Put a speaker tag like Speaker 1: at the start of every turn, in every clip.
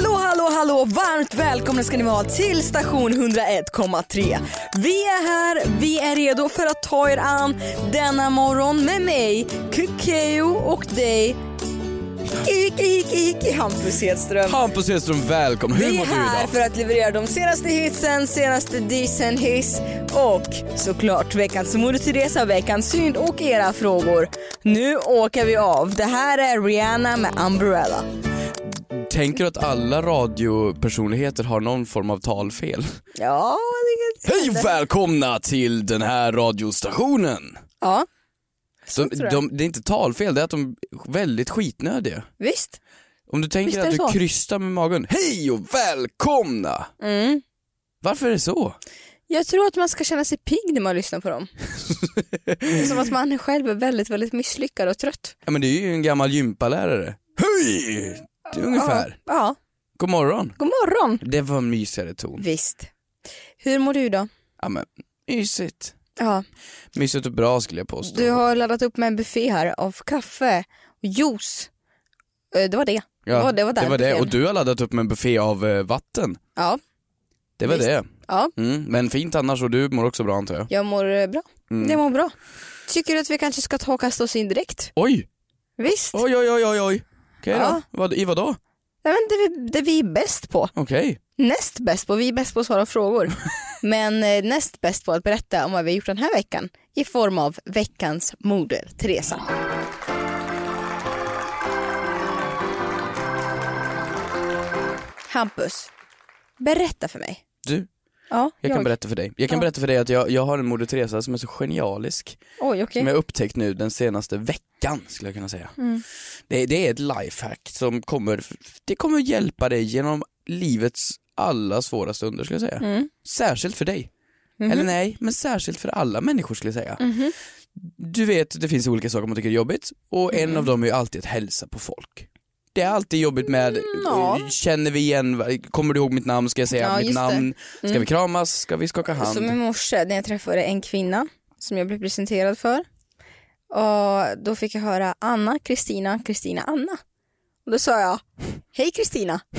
Speaker 1: Hallå, hallå, hallå! Varmt välkomna ska ni vara till station 101,3. Vi är här, vi är redo för att ta er an denna morgon med mig, Kykeo och dig, Hiki, hiki, hiki, Hampus Hedström.
Speaker 2: Hampus Hedström, välkommen. Hur
Speaker 1: Vi är
Speaker 2: mår du
Speaker 1: här
Speaker 2: idag?
Speaker 1: för att leverera de senaste hitsen, senaste disen hiss och såklart veckans Moder Teresa, veckans synd och era frågor. Nu åker vi av. Det här är Rihanna med Umbrella.
Speaker 2: Tänker du att alla radiopersonligheter har någon form av talfel?
Speaker 1: Ja, det kan
Speaker 2: Hej och välkomna till den här radiostationen!
Speaker 1: Ja,
Speaker 2: De,
Speaker 1: tror jag.
Speaker 2: de, det är inte talfel, det är att de är väldigt skitnödiga.
Speaker 1: visst.
Speaker 2: Om du tänker
Speaker 1: Visst är
Speaker 2: att
Speaker 1: det
Speaker 2: du
Speaker 1: så.
Speaker 2: krystar med magen, hej och välkomna!
Speaker 1: Mm.
Speaker 2: Varför är det så?
Speaker 1: Jag tror att man ska känna sig pigg när man lyssnar på dem. Som att man själv är väldigt, väldigt misslyckad och trött.
Speaker 2: Ja men det är ju en gammal gympalärare. Hej! Det är ungefär.
Speaker 1: Ja, ja.
Speaker 2: God morgon.
Speaker 1: god morgon.
Speaker 2: Det var en mysigare ton.
Speaker 1: Visst. Hur mår du då?
Speaker 2: Ja men, mysigt.
Speaker 1: Ja,
Speaker 2: Mysigt och bra skulle jag påstå.
Speaker 1: du har laddat upp med en buffé här av kaffe och juice. Eh, Det var det. det var- det var där
Speaker 2: det, var det.
Speaker 1: buffén.
Speaker 2: Och du har laddat upp med en buffé av eh, vatten.
Speaker 1: Ja,
Speaker 2: Det var
Speaker 1: Visst.
Speaker 2: det.
Speaker 1: ja.
Speaker 2: Mm, men fint annars och du mår också bra antar jag.
Speaker 1: jag mår eh, bra.
Speaker 2: Mm.
Speaker 1: Jag mår bra. Tycker du att vi kanske ska ta och kasta oss in direkt?
Speaker 2: Oj,
Speaker 1: Visst.
Speaker 2: oj, oj, oj, oj. oj. Okej
Speaker 1: Ja.
Speaker 2: då. Vad, I vadå?
Speaker 1: Nej, men det, vi, det vi är bäst på.
Speaker 2: Okej.
Speaker 1: näst bäst på, vi är bäst på att svara frågor, men eh, näst bäst på att berätta om vad vi har gjort den här veckan i form av veckans moder Teresa. Hampus, berätta för mig.
Speaker 2: Du,
Speaker 1: Ja,
Speaker 2: jag kan berätta för dig. Jag kan
Speaker 1: Ja.
Speaker 2: berätta för dig att jag, jag har en Moder Teresa som är så genialisk.
Speaker 1: Oj, okej.
Speaker 2: Som jag upptäckt nu den senaste veckan skulle jag kunna säga.
Speaker 1: Mm.
Speaker 2: Det, det är ett lifehack som kommer, det kommer hjälpa dig genom livets alla svåra stunder skulle jag säga.
Speaker 1: Mm.
Speaker 2: Särskilt för dig.
Speaker 1: Mhm.
Speaker 2: Eller nej, men särskilt för alla människor skulle jag säga. Du vet, det finns olika saker man tycker är jobbigt och
Speaker 1: Mm.
Speaker 2: en av dem är ju alltid att hälsa på folk. Det är alltid jobbigt med,
Speaker 1: Mm,
Speaker 2: eh,
Speaker 1: ja.
Speaker 2: känner vi igen, kommer du ihåg mitt namn, ska jag säga
Speaker 1: Ja,
Speaker 2: mitt
Speaker 1: just det. Mm.
Speaker 2: namn, ska vi kramas, ska vi skaka hand?
Speaker 1: Som i morse när jag träffade en kvinna som jag blev presenterad för. Och då fick jag höra Anna, Kristina, Kristina, Anna. Och då sa jag, hej Kristina.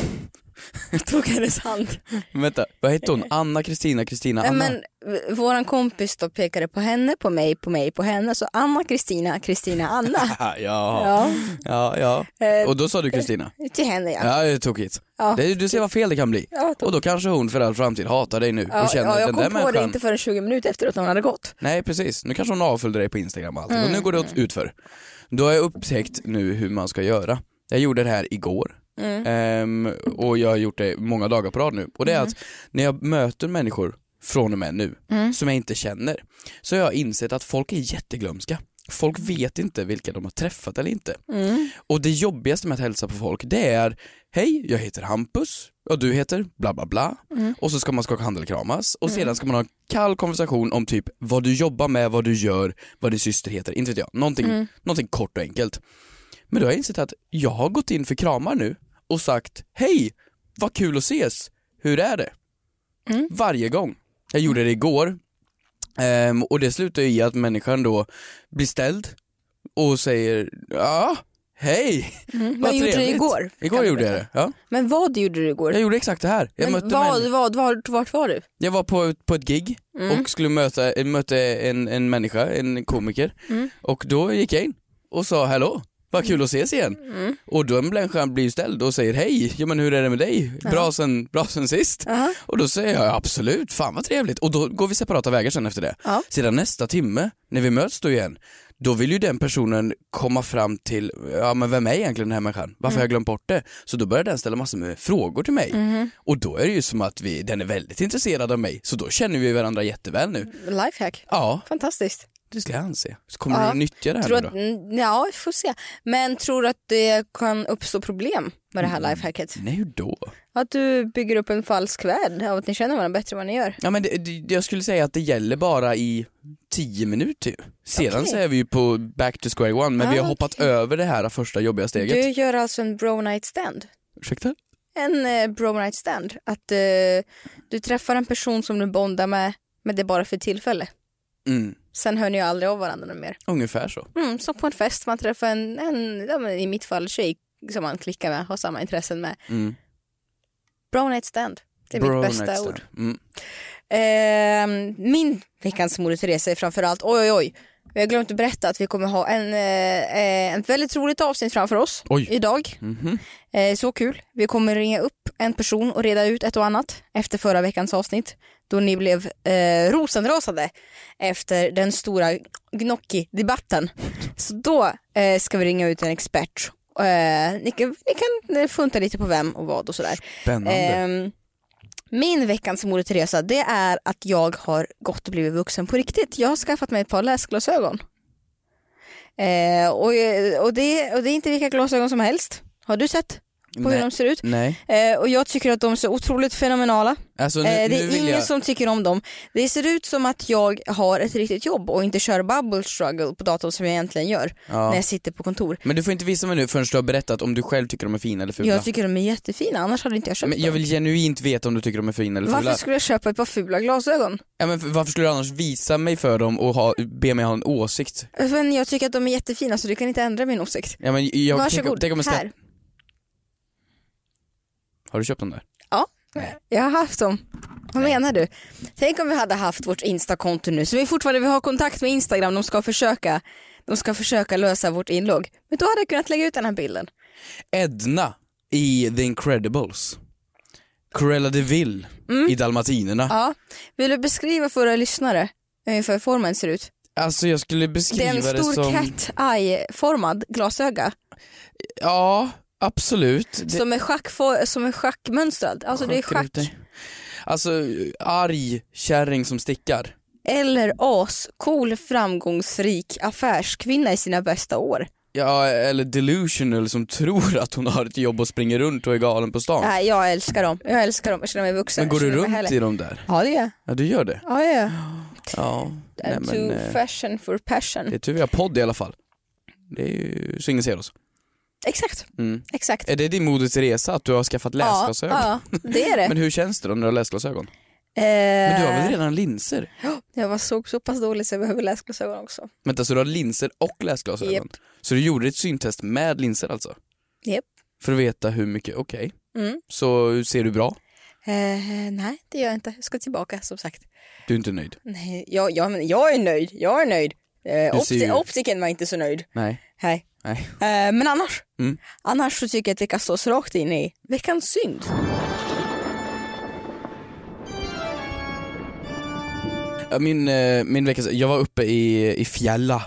Speaker 1: Jag Tog hennes hand.
Speaker 2: Vänta, vad hette hon? Anna, Kristina, Kristina,
Speaker 1: Nej,
Speaker 2: Anna?
Speaker 1: Men v- våran kompis då pekade på henne, på mig, på mig, på henne. Så Anna, Kristina, Kristina, Anna.
Speaker 2: Ah, ja.
Speaker 1: ja,
Speaker 2: Ja, ja.
Speaker 1: Eh,
Speaker 2: Och då sa du Kristina?
Speaker 1: till henne ja.
Speaker 2: Ja, det är tokigt.
Speaker 1: Ja.
Speaker 2: Det, du ser vad fel det kan bli.
Speaker 1: Ja, tokigt.
Speaker 2: och då kanske hon för all framtid hatar dig nu
Speaker 1: Ja,
Speaker 2: och känner
Speaker 1: ja, jag
Speaker 2: den
Speaker 1: kom
Speaker 2: där
Speaker 1: på det
Speaker 2: människan.
Speaker 1: inte förrän 20 minuter efteråt när hon hade gått.
Speaker 2: Nej, precis. Nu kanske hon avföljde dig på Instagram och allt.
Speaker 1: Mm.
Speaker 2: Och nu går det åt- utför. Då har jag upptäckt nu hur man ska göra. Jag gjorde det här igår.
Speaker 1: Mm.
Speaker 2: Ehm, och jag har gjort det många dagar på rad nu. Och det
Speaker 1: Mm.
Speaker 2: är att när jag möter människor från och med nu,
Speaker 1: Mm.
Speaker 2: som jag inte känner, så har jag insett att folk är jätteglömska. Folk vet inte vilka de har träffat eller inte.
Speaker 1: Mm.
Speaker 2: Och det jobbigaste med att hälsa på folk det är Hej, jag heter Hampus och du heter bla bla bla. Och så ska man skaka hand eller kramas och sedan ska man ha en kall konversation om typ vad du jobbar med, vad du gör, vad din syster heter, inte vet jag. Någonting, någonting kort och enkelt. Men då har jag insett att jag har gått in för kramar nu och sagt Hej, vad kul att ses, hur är det?
Speaker 1: Mm.
Speaker 2: Varje gång. Jag gjorde det igår Ehm, och det slutar ju i att människan då blir ställd och säger ja, hej.
Speaker 1: Vad Mm. gjorde du
Speaker 2: trevligt."
Speaker 1: igår?
Speaker 2: Igår gjorde jag det. Ja.
Speaker 1: Men vad gjorde du igår?
Speaker 2: Jag gjorde exakt det här. Jag, mötte
Speaker 1: Men vad,
Speaker 2: män-
Speaker 1: vad, vad, vart var du?
Speaker 2: jag var på, på ett gig och skulle möta, eh, mötte en, en människa, en komiker. Och då gick jag in och sa hallå. Vad kul att ses igen. Och den människan blir ju ställd och säger hej, ja men hur är det med dig? Bra sen, bra sen sist.
Speaker 1: Aha.
Speaker 2: Och då säger jag absolut, fan vad trevligt. Och då går vi separata vägar sen efter det.
Speaker 1: Ja.
Speaker 2: Sedan nästa timme, när vi möts då igen, då vill ju den personen komma fram till, ja men vem är egentligen den här människan? Varför
Speaker 1: Mm.
Speaker 2: har jag glömt bort det? Så då börjar den ställa massor med frågor till mig.
Speaker 1: Mm-hmm.
Speaker 2: Och då är det ju som att
Speaker 1: Mm.
Speaker 2: vi, den är väldigt intresserad av mig, så då känner vi varandra jätteväl nu.
Speaker 1: Lifehack.
Speaker 2: Ja,
Speaker 1: Fantastiskt.
Speaker 2: Det ska han se. Så kommer
Speaker 1: Ja.
Speaker 2: du att nyttja det här
Speaker 1: Tror
Speaker 2: nu
Speaker 1: att,
Speaker 2: då?
Speaker 1: mm, ja, vi får se. Men tror du att det kan uppstå problem med det här
Speaker 2: Mm.
Speaker 1: lifehacket?
Speaker 2: Nej, hur då?
Speaker 1: Att du bygger upp en falsk värld av att ni känner varandra bättre än vad ni gör?
Speaker 2: Ja, men det, det, jag skulle säga att det gäller bara i 10 minuter ju. Sedan
Speaker 1: Okej.
Speaker 2: så är vi ju på back to square one, men
Speaker 1: Ah,
Speaker 2: vi har hoppat
Speaker 1: okej.
Speaker 2: över det här första jobbiga steget.
Speaker 1: Du gör alltså en bro night stand.
Speaker 2: Ursäkta?
Speaker 1: En eh, bro night stand. Att eh, du träffar en person som du bondar med, men det är bara för tillfälle.
Speaker 2: Mm,
Speaker 1: Sen hör ni ju aldrig av varandra mer.
Speaker 2: ungefär så.
Speaker 1: Mm, som på en fest, man träffar en, en ja, men i mitt fall, tjej som man klickar med, har samma intressen med.
Speaker 2: Mm.
Speaker 1: Bro night stand. Det är
Speaker 2: Bro
Speaker 1: mitt bästa
Speaker 2: next
Speaker 1: ord.
Speaker 2: time. Mm.
Speaker 1: Ehm, min veckans mor Therese är framförallt, oj oj oj. Vi har glömt att berätta att vi kommer ha en, eh, eh, ett väldigt roligt avsnitt framför oss
Speaker 2: Oj.
Speaker 1: idag.
Speaker 2: Mhm.
Speaker 1: Eh, så kul. Vi kommer ringa upp en person och reda ut ett och annat efter förra veckans avsnitt då ni blev eh, rosenrasade efter den stora gnocchi-debatten. Så då eh, ska vi ringa ut en expert. Eh, ni, kan, ni kan eh, funta lite på vem och vad och sådär.
Speaker 2: Spännande.
Speaker 1: Ehm, min veckans mor Teresa det är att jag har gått och blivit vuxen på riktigt. Jag har skaffat mig ett par läsglasögon. Eh, och, och, det, och det är inte vilka glasögon som helst. Har du sett på hur
Speaker 2: Nej.
Speaker 1: de ser ut?
Speaker 2: Nej,
Speaker 1: Eh, och jag tycker att de är så otroligt fenomenala.
Speaker 2: alltså nu,
Speaker 1: Eh, det
Speaker 2: nu
Speaker 1: är
Speaker 2: vill
Speaker 1: ingen
Speaker 2: jag...
Speaker 1: som tycker om dem. Det ser ut som att jag har ett riktigt jobb och inte kör bubble struggle på datorn som jag egentligen gör
Speaker 2: Ja.
Speaker 1: när jag sitter på kontor.
Speaker 2: Men du får inte visa mig nu förrän du har berättat om du själv tycker de är fina eller fula.
Speaker 1: Jag tycker de är jättefina annars hade inte jag köpt
Speaker 2: men jag
Speaker 1: dem.
Speaker 2: vill genuint veta om du tycker de är fina eller
Speaker 1: Varför
Speaker 2: fula.
Speaker 1: skulle jag köpa ett par fula glasögon?
Speaker 2: Ja, men för- varför skulle du annars visa mig för dem och ha, be mig ha en åsikt?
Speaker 1: Alltså, Men jag tycker att de är jättefina så du kan inte ändra min åsikt.
Speaker 2: Ja, men jag,
Speaker 1: Varsågod,
Speaker 2: tänk om jag ska...
Speaker 1: här.
Speaker 2: Har du köpt dem där?
Speaker 1: Jag har haft dem. Vad menar du? Tänk om vi hade haft vårt Insta-konto nu, så vi fortfarande vi har kontakt med Instagram, de ska försöka, de ska försöka lösa vårt inlogg. Men då hade jag kunnat lägga ut den här bilden.
Speaker 2: Edna i The Incredibles. Cruella de Vil i Dalmatinerna.
Speaker 1: Mm. Ja. Vill du beskriva för våra lyssnare ungefär hur formen ser ut?
Speaker 2: Alltså jag skulle
Speaker 1: Det är
Speaker 2: beskriva
Speaker 1: en
Speaker 2: det,
Speaker 1: stor
Speaker 2: som...
Speaker 1: cat-eye-formad glasöga
Speaker 2: Ja, absolut. Det-
Speaker 1: som, är schackfor- som är schackmönstrad. Alltså det är
Speaker 2: Schackar ut
Speaker 1: schack.
Speaker 2: dig. Alltså arg kärring som stickar.
Speaker 1: Eller ascool framgångsrik affärskvinna i sina bästa år.
Speaker 2: Ja, eller delusional som tror att hon har ett jobb och springer runt och är galen på stan.
Speaker 1: Nej, jag älskar dem. Jag älskar dem. Jag känner mig vuxen.
Speaker 2: men går du
Speaker 1: Jag känner mig
Speaker 2: runt
Speaker 1: härlig.
Speaker 2: i dem där?
Speaker 1: Ja, det gör jag.
Speaker 2: Ja, du gör det?
Speaker 1: Ja, det gör jag.
Speaker 2: Ja. Nej,
Speaker 1: I'm
Speaker 2: men,
Speaker 1: too
Speaker 2: eh,
Speaker 1: fashion for passion.
Speaker 2: det är tur vi har podd i alla fall. Det är ju så ingen ser oss.
Speaker 1: Exakt,
Speaker 2: Mm.
Speaker 1: exakt.
Speaker 2: Är det din moder Teresa att du har skaffat läsglasögon?
Speaker 1: Ja, ja, det är det.
Speaker 2: Men hur känns det då när du har läsglasögon?
Speaker 1: Eh,
Speaker 2: Men du har väl redan linser?
Speaker 1: Jag var såg så pass dåligt så jag behöver läsglasögon också.
Speaker 2: Vänta, så du har linser och läsglasögon?
Speaker 1: Japp.
Speaker 2: Så du gjorde ett syntest med linser alltså?
Speaker 1: Japp.
Speaker 2: För att veta hur mycket, okej.
Speaker 1: Mm.
Speaker 2: Så ser du bra?
Speaker 1: Eh, nej, det gör jag inte. Jag ska tillbaka som sagt.
Speaker 2: Du är inte nöjd?
Speaker 1: Nej, jag, jag, men jag är nöjd. Jag är nöjd. Eh,
Speaker 2: Du ser ju-
Speaker 1: opti- optiken var inte så nöjd.
Speaker 2: Nej.
Speaker 1: Nej.
Speaker 2: Nej.
Speaker 1: Eh, men annars.
Speaker 2: Mm.
Speaker 1: Annars så tycker jag att vi kan slå oss rakt in i veckans synd.
Speaker 2: Ja, Min, eh, min vecka, jag var uppe i, i Fjälla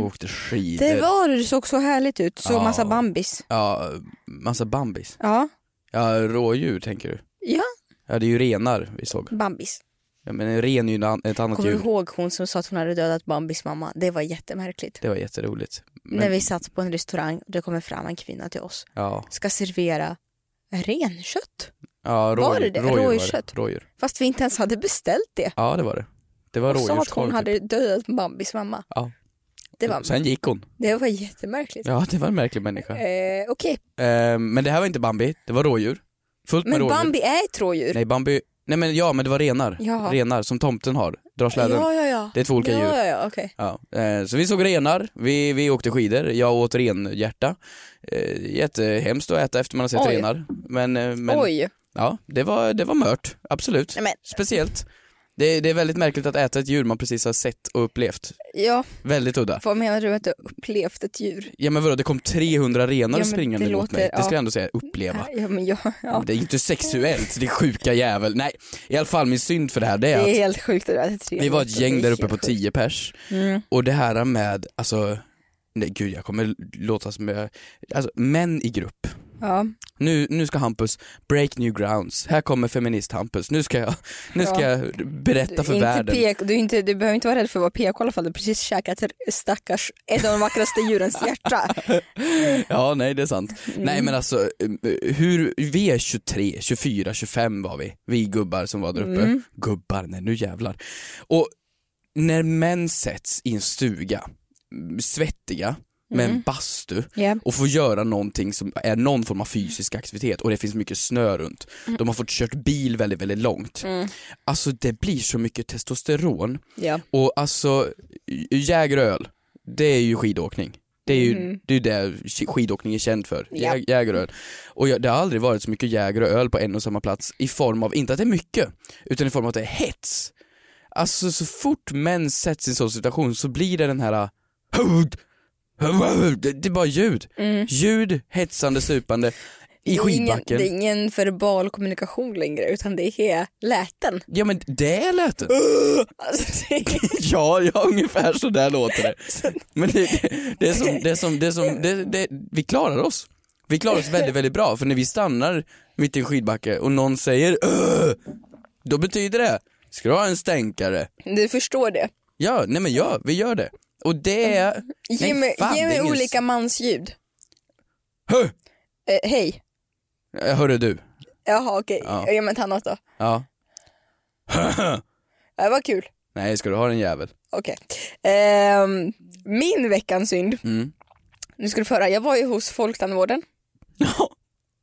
Speaker 2: och åkte skidor.
Speaker 1: Mhm. Det var det, såg så härligt ut. Så
Speaker 2: Ja.
Speaker 1: massa bambis.
Speaker 2: Ja, massa bambis.
Speaker 1: Ja.
Speaker 2: Ja, rådjur tänker du?
Speaker 1: Ja,
Speaker 2: Ja, det är ju renar vi såg.
Speaker 1: Bambis.
Speaker 2: Ja, men en ren är ju na- ett annat
Speaker 1: Kommer du
Speaker 2: djur.
Speaker 1: ihåg hon som sa att hon hade dödat Bambis mamma? Det var jättemärkligt.
Speaker 2: Det var jätteroligt. Men,
Speaker 1: När vi satt på en restaurang och det kommer fram en kvinna till oss.
Speaker 2: Ja,
Speaker 1: Ska servera renkött.
Speaker 2: ja rådjur,
Speaker 1: Var det det?
Speaker 2: rådjur var det.
Speaker 1: Rådjurskött?
Speaker 2: Rådjur.
Speaker 1: Fast vi inte ens hade beställt det.
Speaker 2: Ja, det var det. Det var
Speaker 1: Och sa att hon
Speaker 2: rådjurskorv. typ?
Speaker 1: hade dödat Bambis mamma.
Speaker 2: Ja.
Speaker 1: Det var,
Speaker 2: Sen gick hon.
Speaker 1: det var jättemärkligt.
Speaker 2: Ja, det var en märklig människa.
Speaker 1: Eh, Okej,
Speaker 2: Eh, men det här var inte Bambi, det var rådjur. Fullt med
Speaker 1: men
Speaker 2: rådjur.
Speaker 1: Bambi är ett rådjur.
Speaker 2: Nej, Bambi... Nej men ja, men det var renar.
Speaker 1: Ja.
Speaker 2: Renar som tomten har, drar
Speaker 1: ja,
Speaker 2: släden.
Speaker 1: ja, ja.
Speaker 2: Det är två olika djur.
Speaker 1: Ja, ja, ja, okej.
Speaker 2: Ja, eh, så vi såg renar, vi, vi åkte skidor, jag åt renhjärta. Eh, Jättehemskt att äta efter man har sett
Speaker 1: Oj.
Speaker 2: renar. Men, eh, men
Speaker 1: Oj.
Speaker 2: ja, det var, det var mört, absolut.
Speaker 1: Nej, men,
Speaker 2: Speciellt. Det, det är väldigt märkligt att äta ett djur man precis har sett och upplevt.
Speaker 1: ja,
Speaker 2: Väldigt udda.
Speaker 1: vad menar du med att du har upplevt ett djur?
Speaker 2: Ja men vadå, det kom 300 renar
Speaker 1: Ja, men
Speaker 2: springande
Speaker 1: det
Speaker 2: mot mig.
Speaker 1: låter-
Speaker 2: Det
Speaker 1: ja.
Speaker 2: skulle jag ändå säga uppleva.
Speaker 1: Ja, men jag, ja.
Speaker 2: Det är inte sexuellt, det är sjuka jävel. Nej, i alla fall min synd för det här det är
Speaker 1: Det är
Speaker 2: att
Speaker 1: helt sjukt det där. Det är tre
Speaker 2: vi var ett
Speaker 1: meter. Det
Speaker 2: gäng
Speaker 1: är
Speaker 2: där uppe
Speaker 1: helt
Speaker 2: på
Speaker 1: sjukt.
Speaker 2: 10 pers
Speaker 1: Mm.
Speaker 2: och det här med, alltså, nej gud jag kommer låta som jag, alltså män i grupp
Speaker 1: Ja.
Speaker 2: Nu, nu ska Hampus break new grounds, här kommer feminist-Hampus, nu ska jag, nu ska
Speaker 1: Ja.
Speaker 2: jag berätta för
Speaker 1: inte
Speaker 2: världen.
Speaker 1: Pek, du, är inte, du behöver inte vara rädd för att vara PK i alla fall, du har precis käkat stackars, ett av de vackraste djurens hjärta.
Speaker 2: Ja, nej det är sant. Nej men alltså, eh, hur, vi är 23, 24, 25 var vi, vi gubbar som var där uppe. Gubbar, nej nu jävlar. Och när män sätts i en stuga, mm, svettiga, med en bastu
Speaker 1: Ja.
Speaker 2: och får göra någonting som är någon form av fysisk aktivitet och det finns mycket snö runt. De har fått kört bil väldigt, väldigt långt. Alltså det blir så mycket testosteron
Speaker 1: Ja.
Speaker 2: och alltså, j- Jägeröl, det är ju skidåkning. Det är ju det, är ju det sk- skidåkning är känd för,
Speaker 1: Mm. Ja.
Speaker 2: Jä- Jägeröl. Och jag, det har aldrig varit så mycket Jäger och öl på en och samma plats i form av, inte att det är mycket, utan i form av att det är hets. Alltså så fort män sätts i en sån situation så blir det den här det, det är bara ljud.
Speaker 1: Mm.
Speaker 2: Ljud, hetsande, supande i
Speaker 1: Det är
Speaker 2: skidbacken.
Speaker 1: ingen, det är ingen verbal kommunikation längre utan det är läten.
Speaker 2: Ja men det är lätet.
Speaker 1: Alltså, det är,
Speaker 2: Ja, ja ungefär så där låter det. Men det, det är som, det är som, det är som det, det, vi klarar oss. Vi klarar oss väldigt, väldigt bra för när vi stannar mitt i en skidbacke och någon säger "Åh", då betyder det, ska du ha en stänkare?
Speaker 1: du förstår det.
Speaker 2: Ja, nej men ja, vi gör det. Och det är...
Speaker 1: Ge
Speaker 2: nej,
Speaker 1: mig,
Speaker 2: fan,
Speaker 1: ge
Speaker 2: det är
Speaker 1: mig
Speaker 2: ingen-
Speaker 1: olika mansljud.
Speaker 2: Hö!
Speaker 1: Eh, hej.
Speaker 2: Ja, Eh, Hörru du.
Speaker 1: Jaha okej,
Speaker 2: Ja.
Speaker 1: ge mig ett annat då.
Speaker 2: Ja.
Speaker 1: Det var kul.
Speaker 2: Nej, ska du ha en jävel?
Speaker 1: Okej. Ehm, min veckans synd.
Speaker 2: Mm.
Speaker 1: Nu ska du få höra, jag var ju hos Folktandvården.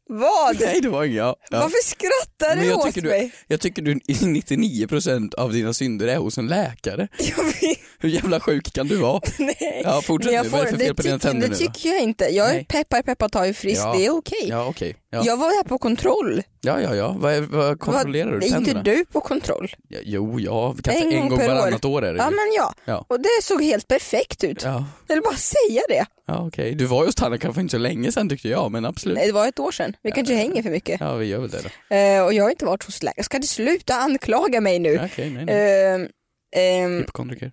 Speaker 1: Vad?
Speaker 2: nej, det var inget jag. Ja.
Speaker 1: Varför skrattar
Speaker 2: Men
Speaker 1: du
Speaker 2: jag
Speaker 1: åt
Speaker 2: tycker du,
Speaker 1: mig?
Speaker 2: jag tycker du 99% av dina synder är hos en läkare.
Speaker 1: Jag vet.
Speaker 2: Hur jävla sjuk kan du vara?
Speaker 1: Nej.
Speaker 2: Ja, fortsätt
Speaker 1: Men
Speaker 2: nu. Vad är det för fel på dina
Speaker 1: tycker-
Speaker 2: tänder
Speaker 1: Det
Speaker 2: nu då?
Speaker 1: tycker jag inte. Jag är
Speaker 2: Nej.
Speaker 1: peppar peppar tar ju friskt,
Speaker 2: Ja.
Speaker 1: det är okej.
Speaker 2: Ja okej. Ja.
Speaker 1: Jag var här på kontroll.
Speaker 2: ja ja ja, vad, är- vad kontrollerar
Speaker 1: Vad-
Speaker 2: du
Speaker 1: Är inte
Speaker 2: tänderna?
Speaker 1: du på kontroll?
Speaker 2: Ja, Jo ja, kanske
Speaker 1: En
Speaker 2: en,
Speaker 1: gång
Speaker 2: gång
Speaker 1: per år.
Speaker 2: varannat år är det
Speaker 1: Ja
Speaker 2: ju.
Speaker 1: men ja.
Speaker 2: Ja.
Speaker 1: och det såg helt perfekt ut.
Speaker 2: Ja,
Speaker 1: Jag vill bara säga det.
Speaker 2: ja okej. Du var just tandläkare för inte så länge sedan tyckte jag, men absolut.
Speaker 1: Nej, det var ett år sedan, vi kanske hänger för mycket.
Speaker 2: Ja vi gör väl det då.
Speaker 1: Eh, och jag har inte varit hos läkare. Ska du sluta anklaga mig nu?
Speaker 2: Ja, Okej, nej nej.
Speaker 1: Ehm, ehm,
Speaker 2: Hypokondriker.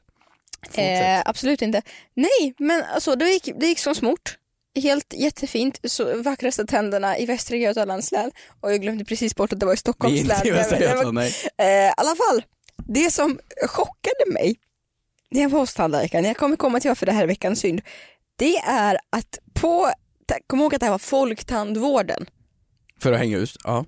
Speaker 2: Fortsätt.
Speaker 1: Eh, absolut inte. Nej, men alltså det gick, det gick som smort. Helt jättefint, så vackraste tänderna i Västra Götalands län. Och jag glömde precis bort att det var i
Speaker 2: Vi
Speaker 1: Stockholms
Speaker 2: är inte i
Speaker 1: län.
Speaker 2: Västra
Speaker 1: Men det var-
Speaker 2: Götaland, nej.
Speaker 1: Eh, I alla fall, det som chockade mig när jag var hos tandläkaren, jag kommer komma till varför det här är veckans synd, det är att på, ta- kom ihåg att det här var Folktandvården.
Speaker 2: För att hänga ut, ja.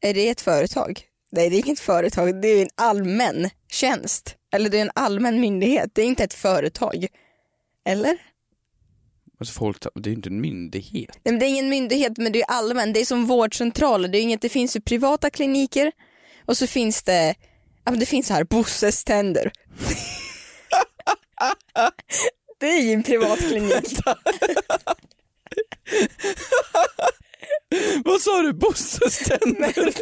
Speaker 1: Är det ett företag? Nej det är inget företag, det är en allmän tjänst. Eller det är en allmän myndighet, det är inte ett företag. Eller?
Speaker 2: Alltså folk, det är ju inte en myndighet.
Speaker 1: Nej, men det är ingen myndighet men det är allmän, det är som vårdcentraler, det, är inget, det finns ju privata kliniker och så finns det, ja men det finns så här Bosses tänder. det är ju en privat klinik.
Speaker 2: Vad sa du? Bosses tänder?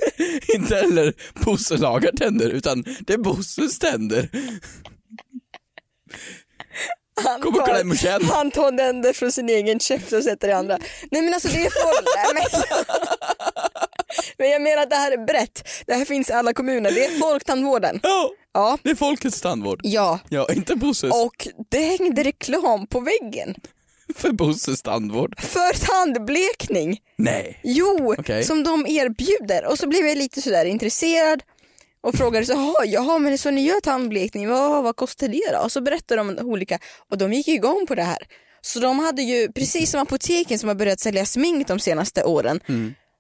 Speaker 2: inte heller Bosse lagar tänder, utan det är Bosses tänder.
Speaker 1: Han
Speaker 2: Kom och
Speaker 1: tar-
Speaker 2: kläm och känn.
Speaker 1: Han tar den där från sin egen käft och sätter i andra. Nej men alltså det är folk. Nej, men, men jag menar att det här är brett. Det här finns i alla kommuner. Det är folktandvården.
Speaker 2: Ja,
Speaker 1: Ja.
Speaker 2: det är folkets tandvård.
Speaker 1: Ja.
Speaker 2: Ja, inte Bosses.
Speaker 1: Och det hängde reklam på väggen
Speaker 2: För Bosses tandvård?
Speaker 1: för tandblekning.
Speaker 2: Nej.
Speaker 1: Jo,
Speaker 2: Okej.
Speaker 1: som de erbjuder. Och så blev jag lite sådär intresserad och frågade så jaha, jaha men så ni gör tandblekning, vad, vad kostar det då? Och så berättade de olika, och de gick ju igång på det här. Så de hade ju, precis som apoteken som har börjat sälja smink de senaste åren,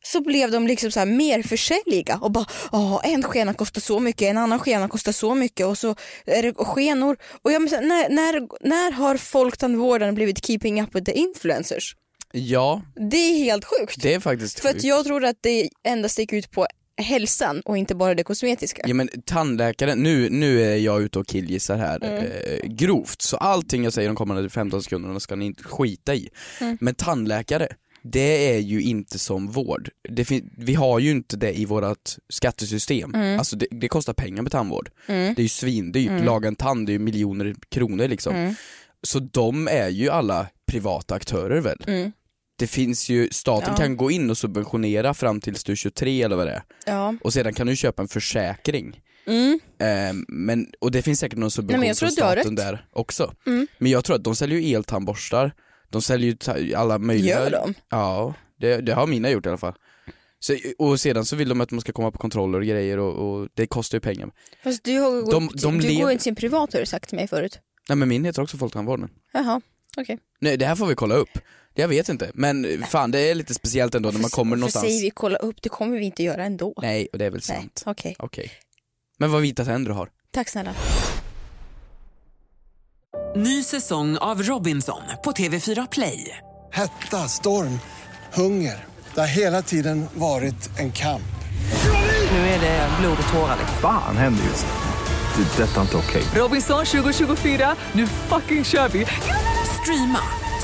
Speaker 1: så blev de liksom så här mer försäljiga och bara "Ja, en skena kostar så mycket, en annan skena kostar så mycket och så är det skenor. Och jag, menar så här, när, när, när har folktandvården blivit keeping up with the influencers?
Speaker 2: Ja,
Speaker 1: Det är helt sjukt.
Speaker 2: det är faktiskt
Speaker 1: För att
Speaker 2: sjukt.
Speaker 1: jag tror att det endast gick ut på hälsan och inte bara det kosmetiska.
Speaker 2: Ja men tandläkaren, nu, nu är jag ute och killgissar här
Speaker 1: Mm.
Speaker 2: eh, grovt, så allting jag säger de kommande 15 sekunderna ska ni inte skita i.
Speaker 1: Mm.
Speaker 2: Men tandläkare, det är ju inte som vård. Det fin- vi har ju inte det i vårt skattesystem.
Speaker 1: Mm.
Speaker 2: Alltså det, det kostar pengar med tandvård. Det är ju svindyrt, laga en tand det är ju miljoner kronor liksom.
Speaker 1: Mm.
Speaker 2: Så de är ju alla privata aktörer väl?
Speaker 1: Mm.
Speaker 2: Det finns ju, staten kan gå in och subventionera fram tills du är 23 eller vad det är.
Speaker 1: Ja. Mm.
Speaker 2: Och sedan kan du köpa en försäkring. Ehm, men, och det finns säkert någon
Speaker 1: Nej,
Speaker 2: subvention
Speaker 1: men jag tror
Speaker 2: från
Speaker 1: att du har
Speaker 2: staten
Speaker 1: rätt. Mm.
Speaker 2: där också. Men jag tror att de säljer ju eltandborstar, de säljer ju ta- alla möjliga...
Speaker 1: Gör de?
Speaker 2: Ja, Det, det har mina gjort i alla fall. Så, och sedan så vill de att man ska komma på kontroller och grejer och, och det kostar ju pengar.
Speaker 1: Fast du, har,
Speaker 2: De-
Speaker 1: de,
Speaker 2: de
Speaker 1: du
Speaker 2: lever-
Speaker 1: går ju till sin privat har du sagt till mig förut.
Speaker 2: Nej men min heter också Folktandvården.
Speaker 1: Jaha, okej.
Speaker 2: Nej det här får vi kolla upp. Jag vet inte, men fan det är lite speciellt ändå när man kommer
Speaker 1: Varför
Speaker 2: någonstans.
Speaker 1: säger vi kolla upp? Det kommer vi inte göra ändå.
Speaker 2: Nej, och det är väl
Speaker 1: Nej,
Speaker 2: sant.
Speaker 1: Okej,
Speaker 2: Okej. Men vad vita tänder du har.
Speaker 1: tack snälla.
Speaker 3: Ny säsong av Robinson på TV4 Play.
Speaker 4: Hetta, storm, hunger. Det har hela tiden varit en kamp.
Speaker 3: Nu är det blod och tårar.
Speaker 5: Fan händer just nu. Det. är Detta är inte okej.
Speaker 3: Robinson 2024, nu fucking kör vi! Streama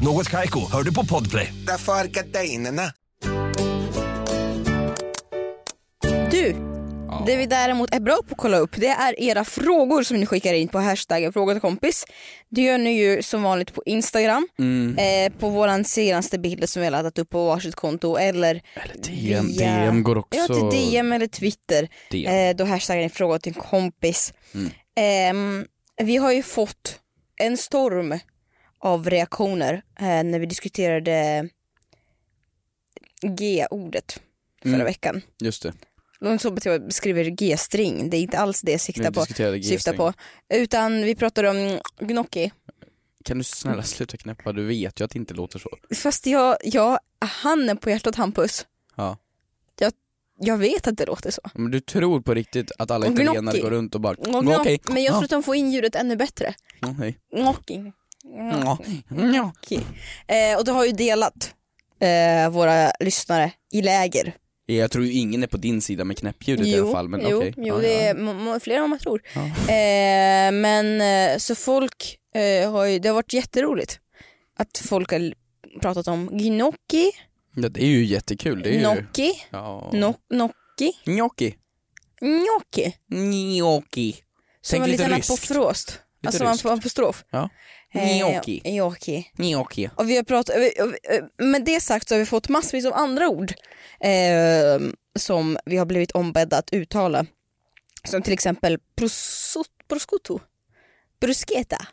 Speaker 6: Något Kaiko, hör du på Podplay.
Speaker 7: Därför arkadeinerna.
Speaker 1: Du, det vi däremot är bra på att kolla upp det är era frågor som ni skickar in på hashtaggen fråga till kompis. Det gör ni ju som vanligt på Instagram,
Speaker 2: Mm.
Speaker 1: eh, på våran senaste bild som vi har laddat upp på varsitt konto eller
Speaker 2: Eller DM,
Speaker 1: via-
Speaker 2: DM går också.
Speaker 1: Ja, till DM eller Twitter.
Speaker 2: DM.
Speaker 1: Eh, då hashtaggar ni fråga till en kompis.
Speaker 2: Mm.
Speaker 1: Ehm, vi har ju fått en storm av reaktioner eh, när vi diskuterade G-ordet förra
Speaker 2: Mm.
Speaker 1: veckan.
Speaker 2: Just det.
Speaker 1: Långt som att jag beskriver G-string, det är inte alls det jag
Speaker 2: Vi
Speaker 1: siktar på,
Speaker 2: diskuterade
Speaker 1: syftar
Speaker 2: G-string.
Speaker 1: på. Utan vi pratar om gnocchi.
Speaker 2: Kan du snälla sluta knäppa? Du vet ju att det inte låter så.
Speaker 1: Fast jag, jag handen på hjärtat Hampus,
Speaker 2: Ja.
Speaker 1: jag vet att det låter så.
Speaker 2: Men du tror på riktigt att alla
Speaker 1: Och
Speaker 2: italienare
Speaker 1: gnocchi.
Speaker 2: går runt och bara
Speaker 1: Och gnoc-
Speaker 2: okej.
Speaker 1: Men jag tror
Speaker 2: Ja,
Speaker 1: att de får in ljudet ännu bättre.
Speaker 2: ja, hej.
Speaker 1: Gnocchi. Gnocchi.
Speaker 2: Ja, ja.
Speaker 1: Eh, och du har ju delat eh, våra lyssnare i läger.
Speaker 2: Jag tror ju ingen är på din sida med knäppljudet i alla fall. Men
Speaker 1: jo,
Speaker 2: okej.
Speaker 1: jo
Speaker 2: Ja,
Speaker 1: det
Speaker 2: ja.
Speaker 1: är må- må- fler än vad man tror.
Speaker 2: Ja.
Speaker 1: Eh, men eh, så folk eh, har ju, det har varit jätteroligt att folk har l- pratat om gnocchi,
Speaker 2: Ja, det är ju jättekul. Det är ju...
Speaker 1: gnocchi,
Speaker 2: Ja.
Speaker 1: no- gnocchi,
Speaker 2: Gnocchi.
Speaker 1: gnocchi.
Speaker 2: Gnocchi.
Speaker 1: Som
Speaker 2: Tänk
Speaker 1: en
Speaker 2: lite
Speaker 1: liten
Speaker 2: ryskt.
Speaker 1: apostrof. Alltså man
Speaker 2: ryskt.
Speaker 1: får apostrof.
Speaker 2: Ja.
Speaker 1: Eh,
Speaker 2: Gnocchi.
Speaker 1: Gnocchi.
Speaker 2: Gnocchi.
Speaker 1: Och vi har pratat, vi- och- och- med det sagt så har vi fått massvis av andra ord eh, som vi har blivit ombedda att uttala. Som till exempel prosot- prosciutto, bruschetta,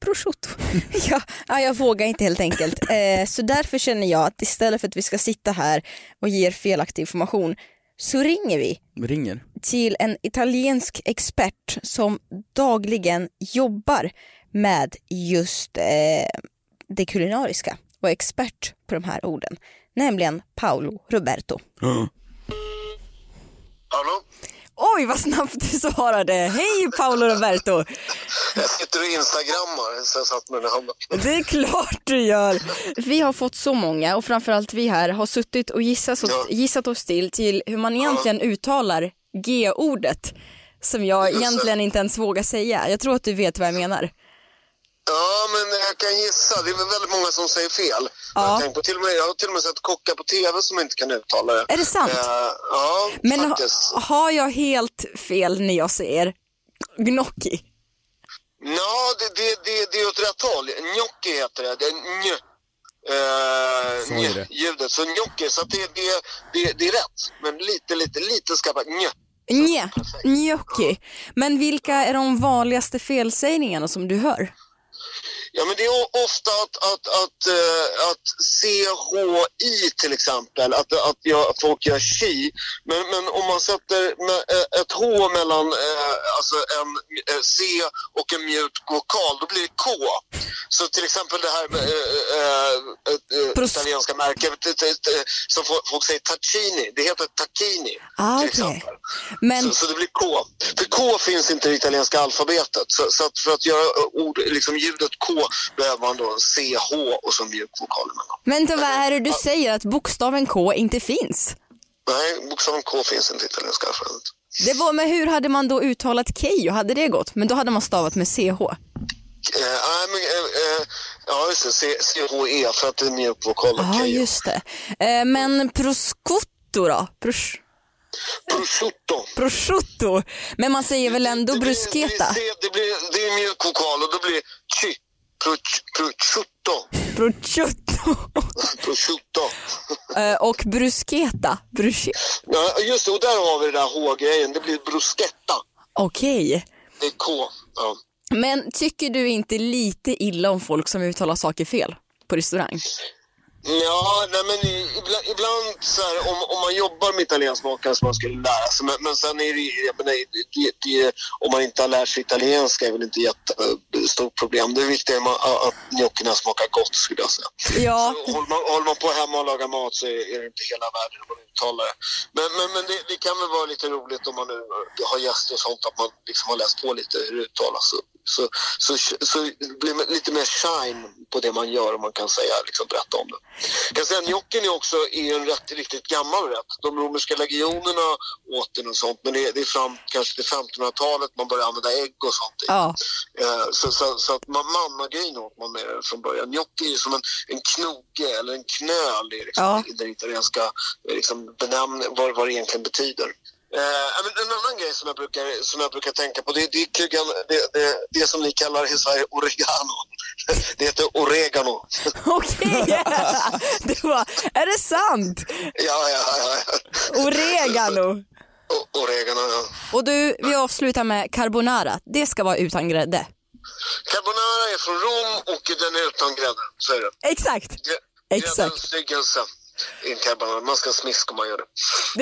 Speaker 1: prosciutto. ja, ja, jag vågar inte helt enkelt. Eh, så därför känner jag att istället för att vi ska sitta här och ge er felaktig information så ringer vi
Speaker 2: Ringer.
Speaker 1: till en italiensk expert som dagligen jobbar med just eh, det kulinariska och är expert på de här orden. Nämligen Paolo Roberto.
Speaker 8: Hallå?
Speaker 1: Oj vad snabbt du svarade! Hej Paolo Roberto!
Speaker 8: Jag sitter och instagrammar så jag satt med den i handen.
Speaker 1: Det är klart du gör! Vi har fått så många och framförallt vi här har suttit och gissat,
Speaker 8: Ja.
Speaker 1: gissat oss till, till hur man egentligen uttalar G-ordet som jag
Speaker 8: det.
Speaker 1: egentligen inte ens vågar säga. Jag tror att du vet vad jag menar.
Speaker 8: Ja, men jag kan gissa. Det är väl väldigt många som säger fel.
Speaker 1: Ja.
Speaker 8: Jag, har tänkt på, till och med, jag har till och med sett kockar på tv som inte kan uttala det.
Speaker 1: Är det sant?
Speaker 8: Eh, ja,
Speaker 1: Men ha,
Speaker 8: faktiskt.
Speaker 1: har jag helt fel när jag säger gnocchi?
Speaker 8: Ja, det, det, det, det är åt rätt håll. Gnocchi heter det. det är nj. Eh,
Speaker 2: Så är
Speaker 8: nj-
Speaker 2: det.
Speaker 8: ljudet. Så gnocchi, så att det, det, det, det är rätt. Men lite, lite, lite skarpare. Nj.
Speaker 1: Nje, gnocchi. Men vilka är de vanligaste felsägningarna som du hör?
Speaker 8: Ja, men det är o- ofta att, att, att, eh, att CHI till exempel, att, att jag, folk gör chi. Men, men om man sätter me- eh, ett H mellan eh, alltså en eh, C och en mjuk vokal, då blir det K. Så till exempel det här med eh, eh, eh, eh,
Speaker 1: Pros-
Speaker 8: italienska märket t- t- t- som fo- folk säger tacchini, det heter tacchini
Speaker 1: Ah, okej.
Speaker 8: till exempel.
Speaker 1: Men
Speaker 8: Så, så det blir K. För K finns inte i det italienska alfabetet. Så, så att för att göra ord, liksom ljudet K behöver man då en CH och så en mjuk vokal emellan.
Speaker 1: vänta, vad är det du säger att bokstaven K inte finns?
Speaker 8: Nej, bokstaven K finns inte i det italienska alfabetet.
Speaker 1: Det var, men hur hade man då uttalat Keyyo? Hade det gått? Men då hade man stavat med CH.
Speaker 8: Eh, nej, men, eh, eh, ja, just det. C- CHE för att det är mjölkvokaler.
Speaker 1: Ja, just det. Eh, men prosciutto då? Pros
Speaker 8: Prosciutto.
Speaker 1: prosciutto? Men man säger väl ändå
Speaker 8: Det blir-
Speaker 1: bruschetta?
Speaker 8: Det, blir, det, blir, det är mjölkvokal och då blir chi. Proc- Prosciutto.
Speaker 1: Prosciutto.
Speaker 8: Prosciutto.
Speaker 1: Eh, och bruschetta? Brusche-
Speaker 8: Ja, just det, och där har vi det där H-grejen. Det blir bruschetta.
Speaker 1: Okej.
Speaker 8: Det är K. Ja.
Speaker 1: Men tycker du inte lite illa om folk som uttalar saker fel på restaurang?
Speaker 8: Ja, nej men i- ibland, ibland så här, om, om man jobbar med italiensk mat kanske man skulle lära sig. Men, men sen är det, ju- jag menar, det, det, om man inte har lärt sig italienska är väl inte jättestort problem. Det viktiga är man, att att gnocchierna smakar gott skulle jag säga.
Speaker 1: Ja.
Speaker 8: Så håller, man, håller man på hemma och lagar mat så är, är det inte hela världen om man uttalar det. Men, men, men det, det kan väl vara lite roligt om man nu har gäster och sånt att man liksom har läst på lite hur det uttalas. Så, så, så, så blir man lite mer shine på det man gör om man kan säga, liksom, berätta om det. Jag kan säga att Njocken är också är en rätt, riktigt gammal rätt. De romerska legionerna åt den och sånt men det, är- det är fram kanske till 1500-talet man börjar använda ägg och sånt i.
Speaker 1: Ja.
Speaker 8: Eh, Så, så, så att man, mannagrejen åt man med det från början. Gnocchi är ju som en, en knoge eller en knöl i liksom,
Speaker 1: Ja.
Speaker 8: i den italienska eh, liksom, benämn, vad, vad det egentligen betyder. Eh, ja, men en annan grej som jag brukar, som jag brukar tänka på det, det är kugan, det, det, det som ni kallar i Sverige oregano. Det heter oregano.
Speaker 1: Okej! Det var, är det sant?
Speaker 8: Ja, ja, ja. ja.
Speaker 1: Oregano.
Speaker 8: O- Oregano, ja.
Speaker 1: Och du, vi avslutar med carbonara. Det ska vara utan grädde.
Speaker 8: Carbonara är från Rom och den är utan grädde. Så är det.
Speaker 1: Exakt!
Speaker 8: Grä-
Speaker 1: Exakt.
Speaker 8: Gräddens styggelse i en carbonara. Man ska smiska om man gör det.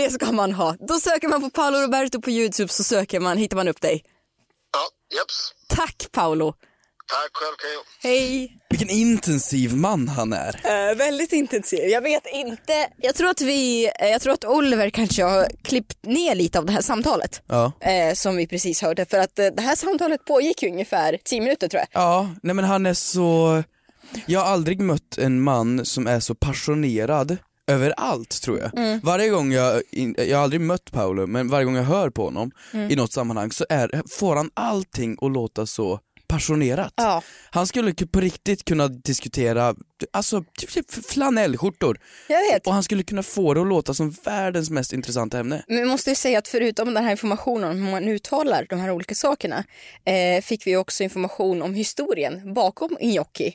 Speaker 1: Det ska man ha. Då söker man på Paolo Roberto på Youtube så söker man, hittar man upp dig.
Speaker 8: Ja, jeps.
Speaker 1: Tack Paolo!
Speaker 8: Tack själv, Keyyo.
Speaker 1: Hej!
Speaker 2: Vilken intensiv man han är.
Speaker 1: Eh, väldigt intensiv. Jag vet inte. Jag tror att vi, eh, jag tror att Oliver kanske har klippt ner lite av det här samtalet.
Speaker 2: Ja.
Speaker 1: Eh, som vi precis hörde. För att eh, det här samtalet pågick ju ungefär 10 minuter tror jag.
Speaker 2: Ja, nej men han är så... Jag har aldrig mött en man som är så passionerad över allt tror jag.
Speaker 1: Mm.
Speaker 2: Varje gång jag, in- jag har aldrig mött Paolo, men varje gång jag hör på honom
Speaker 1: Mm.
Speaker 2: i något sammanhang så är, får han allting att låta så passionerat.
Speaker 1: Ja.
Speaker 2: Han skulle ku- på riktigt kunna diskutera, alltså typ, typ flanellskjortor.
Speaker 1: Jag vet.
Speaker 2: Och han skulle kunna få det att låta som världens mest intressanta ämne.
Speaker 1: Men vi måste ju säga att förutom den här informationen om hur man uttalar de här olika sakerna eh, fick vi också information om historien bakom gnocchi.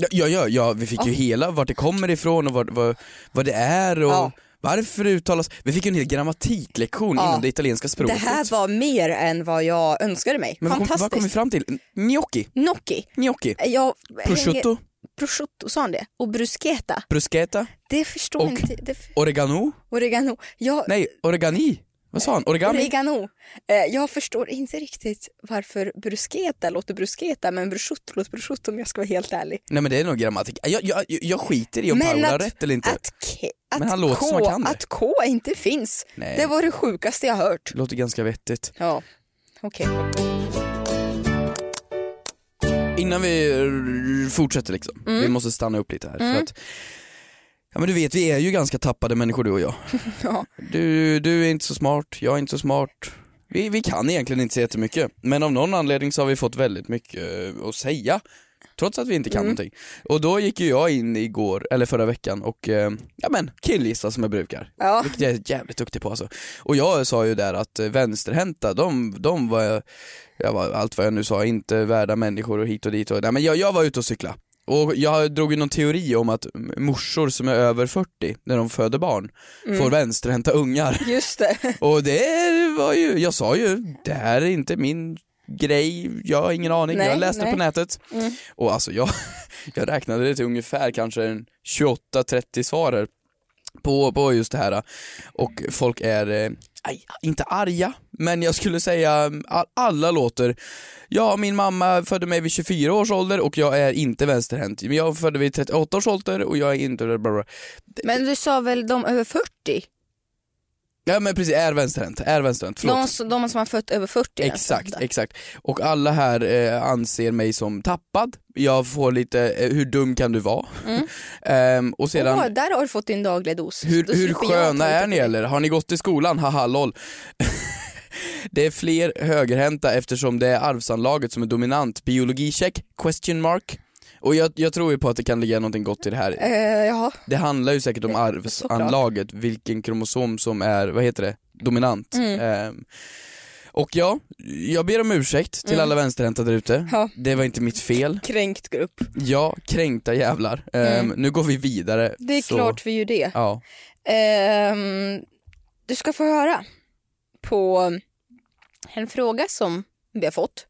Speaker 2: Ja, ja, ja, ja vi fick ju hela vart det kommer ifrån och vad, vad, vad det är och
Speaker 1: Ja.
Speaker 2: varför det uttalas. Vi fick ju en hel grammatiklektion
Speaker 1: Ja.
Speaker 2: inom det italienska
Speaker 1: Det
Speaker 2: språket.
Speaker 1: här var mer än vad jag önskade mig.
Speaker 2: Men vad kom, vad kom vi
Speaker 1: Fantastiskt.
Speaker 2: fram till? Gnocchi,
Speaker 1: Gnocchi. Eh,
Speaker 2: gnocchi,
Speaker 1: Jag
Speaker 2: prosciutto,
Speaker 1: prosciutto, sa han det? Och bruschetta.
Speaker 2: bruschetta,
Speaker 1: Det förstår
Speaker 2: Och-
Speaker 1: inte. Det f-
Speaker 2: oregano,
Speaker 1: oregano. Jag,
Speaker 2: nej oregani, vad sa han? Origami?
Speaker 1: oregano. Eh, jag förstår inte riktigt varför bruschetta låter bruschetta men prosciutto låter prosciutto om jag ska vara helt ärlig.
Speaker 2: nej men det är nog grammatik. Jag, jag, jag- jag skiter i om Paolo har rätt eller inte.
Speaker 1: Att, K- att,
Speaker 2: Men han låter
Speaker 1: K,
Speaker 2: som han kan det.
Speaker 1: att K inte finns,
Speaker 2: Nej.
Speaker 1: det var det sjukaste jag hört.
Speaker 2: Låter ganska vettigt.
Speaker 1: Ja, okej.
Speaker 2: Innan vi r- fortsätter liksom, vi måste stanna upp lite här för att Ja men du vet vi är ju ganska tappade människor du och jag.
Speaker 1: Ja.
Speaker 2: Du, du är inte så smart, jag är inte så smart. Vi, vi kan egentligen inte så jättemycket men av någon anledning så har vi fått väldigt mycket eh, att säga. Trots att vi inte kan någonting. Och då gick ju jag in igår, eller förra veckan och eh, ja men killgissa som jag brukar.
Speaker 1: Ja.
Speaker 2: Vilket jag är jävligt duktig på alltså. Och jag sa ju där att eh, vänsterhänta, de, de var, jag var, allt vad jag nu sa, inte värda människor och hit och dit. Och, nej men jag, jag var ute och cykla. Och jag drog ju någon teori om att m- morsor som är över 40, när de föder barn, får vänsterhänta ungar.
Speaker 1: Just det.
Speaker 2: Och det var ju, jag sa ju, det här är inte min grej, jag har ingen aning,
Speaker 1: Nej,
Speaker 2: jag läste
Speaker 1: nej. Mm.
Speaker 2: på nätet. Och alltså jag, jag räknade det till ungefär kanske en 28-30 svarer på, på just det här. Och folk är, eh, aj, inte arga, men jag skulle säga mm, all- alla låter, ja min mamma födde mig vid 24 års ålder och jag är inte vänsterhänt. Men jag födde vid 38 års ålder och jag är inte... Bla bla. bla.
Speaker 1: Men du sa väl de över 40?
Speaker 2: Ja men precis, är vänsterhänt, är vänsterhänt, förlåt.
Speaker 1: De, som- de som har fött över 40?
Speaker 2: Exakt,
Speaker 1: Alltså.
Speaker 2: exakt. Och alla här eh, anser mig som tappad, jag får lite, eh, hur dum kan du vara? Ehm, och sedan,
Speaker 1: Mm. Åh, där har du fått din dagliga dos.
Speaker 2: hur,
Speaker 1: Då
Speaker 2: hur
Speaker 1: slipper jag ta
Speaker 2: sköna
Speaker 1: lite
Speaker 2: är ni
Speaker 1: på det.
Speaker 2: eller? Har ni gått i skolan? Haha lol. Det är fler högerhänta eftersom det är arvsanlaget som är dominant. Biologicheck? Question mark? Och jag, jag tror ju på att det kan ligga någonting gott i det här.
Speaker 1: Eh, ja.
Speaker 2: Det handlar ju säkert om arvsanlaget, vilken kromosom som är, vad heter det, dominant.
Speaker 1: Mm.
Speaker 2: Ehm, och ja, jag ber om ursäkt till alla vänsterhänta där ute.
Speaker 1: Mm. Ja.
Speaker 2: Det var inte mitt fel.
Speaker 1: Kränkt grupp.
Speaker 2: Ja, kränkta jävlar. Ehm, Nu går vi vidare.
Speaker 1: Mm. Det är
Speaker 2: Så-
Speaker 1: klart vi gör det.
Speaker 2: Ja.
Speaker 1: Ehm, du ska få höra på en fråga som vi har fått